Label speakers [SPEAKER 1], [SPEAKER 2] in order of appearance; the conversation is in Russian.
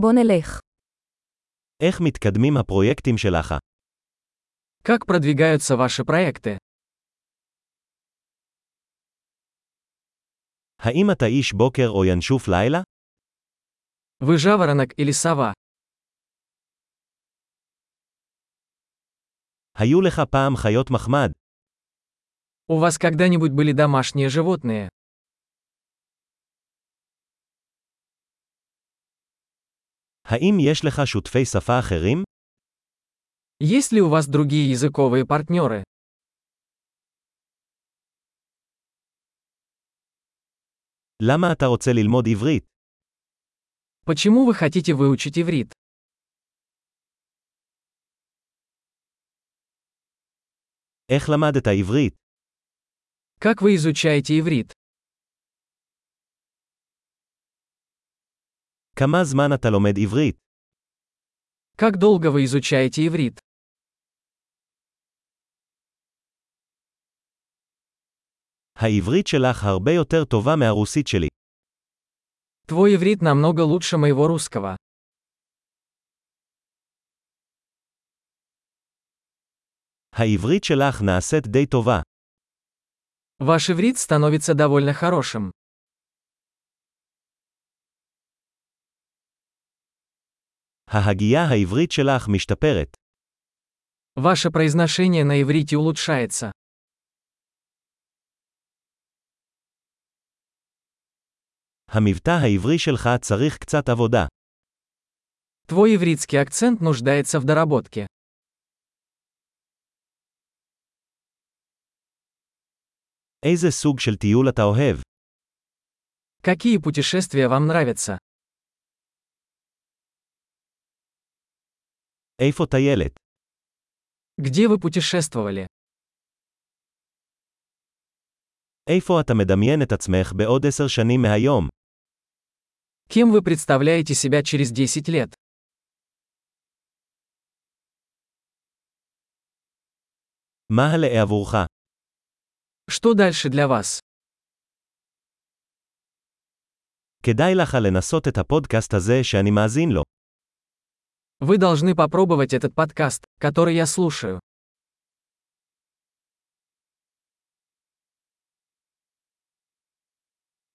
[SPEAKER 1] בוא נלך.
[SPEAKER 2] איך מתקדמים הפרויקטים שלך?
[SPEAKER 3] Как продвигаются ваши проекты?
[SPEAKER 2] האם אתה איש בוקר או ינשוף לילה?
[SPEAKER 3] Вы жаворонок или сова?
[SPEAKER 2] היו לך פעם חיות מחמד?
[SPEAKER 3] У вас когда-нибудь были домашние животные?
[SPEAKER 2] האם יש לך שותפי שפה אחרים?
[SPEAKER 3] Есть ли у вас другие языковые партнеры?
[SPEAKER 2] למה אתה רוצה ללמוד עברית?
[SPEAKER 3] Почему вы хотите выучить иврит?
[SPEAKER 2] איך למדת עברית?
[SPEAKER 3] Как вы изучаете иврит?
[SPEAKER 2] כמה זמן אתה לומד עברית?
[SPEAKER 3] Как долго вы изучаете иврит?
[SPEAKER 2] העברית שלך הרבה יותר טובה מהרוסית שלי.
[SPEAKER 3] Твой иврит намного лучше моего русского.
[SPEAKER 2] העברית שלך נעשית די טובה.
[SPEAKER 3] Ваш иврит становится довольно хорошим.
[SPEAKER 2] ההגייה העברית שלך משתפרת.
[SPEAKER 3] Ваше произношение на иврите улучшается.
[SPEAKER 2] המבטא העברי שלך צריך קצת עבודה.
[SPEAKER 3] Твой ивритский акцент нуждается в доработке.
[SPEAKER 2] איזה סוג של טיול אתה אוהב?
[SPEAKER 3] Какие путешествия вам нравятся?
[SPEAKER 2] איפה טיילת?
[SPEAKER 3] Где вы путешествовали?
[SPEAKER 2] איפה אתה מדמיין את עצמך בעוד עשר שנים מהיום?
[SPEAKER 3] Кем вы представляете себя через 10 лет?
[SPEAKER 2] מה הלאה עבורך?
[SPEAKER 3] Что дальше для вас?
[SPEAKER 2] כדאי לך לנסות את הפודקאסט הזה שאני מאזין לו.
[SPEAKER 3] Вы должны попробовать этот подкаст, который я слушаю.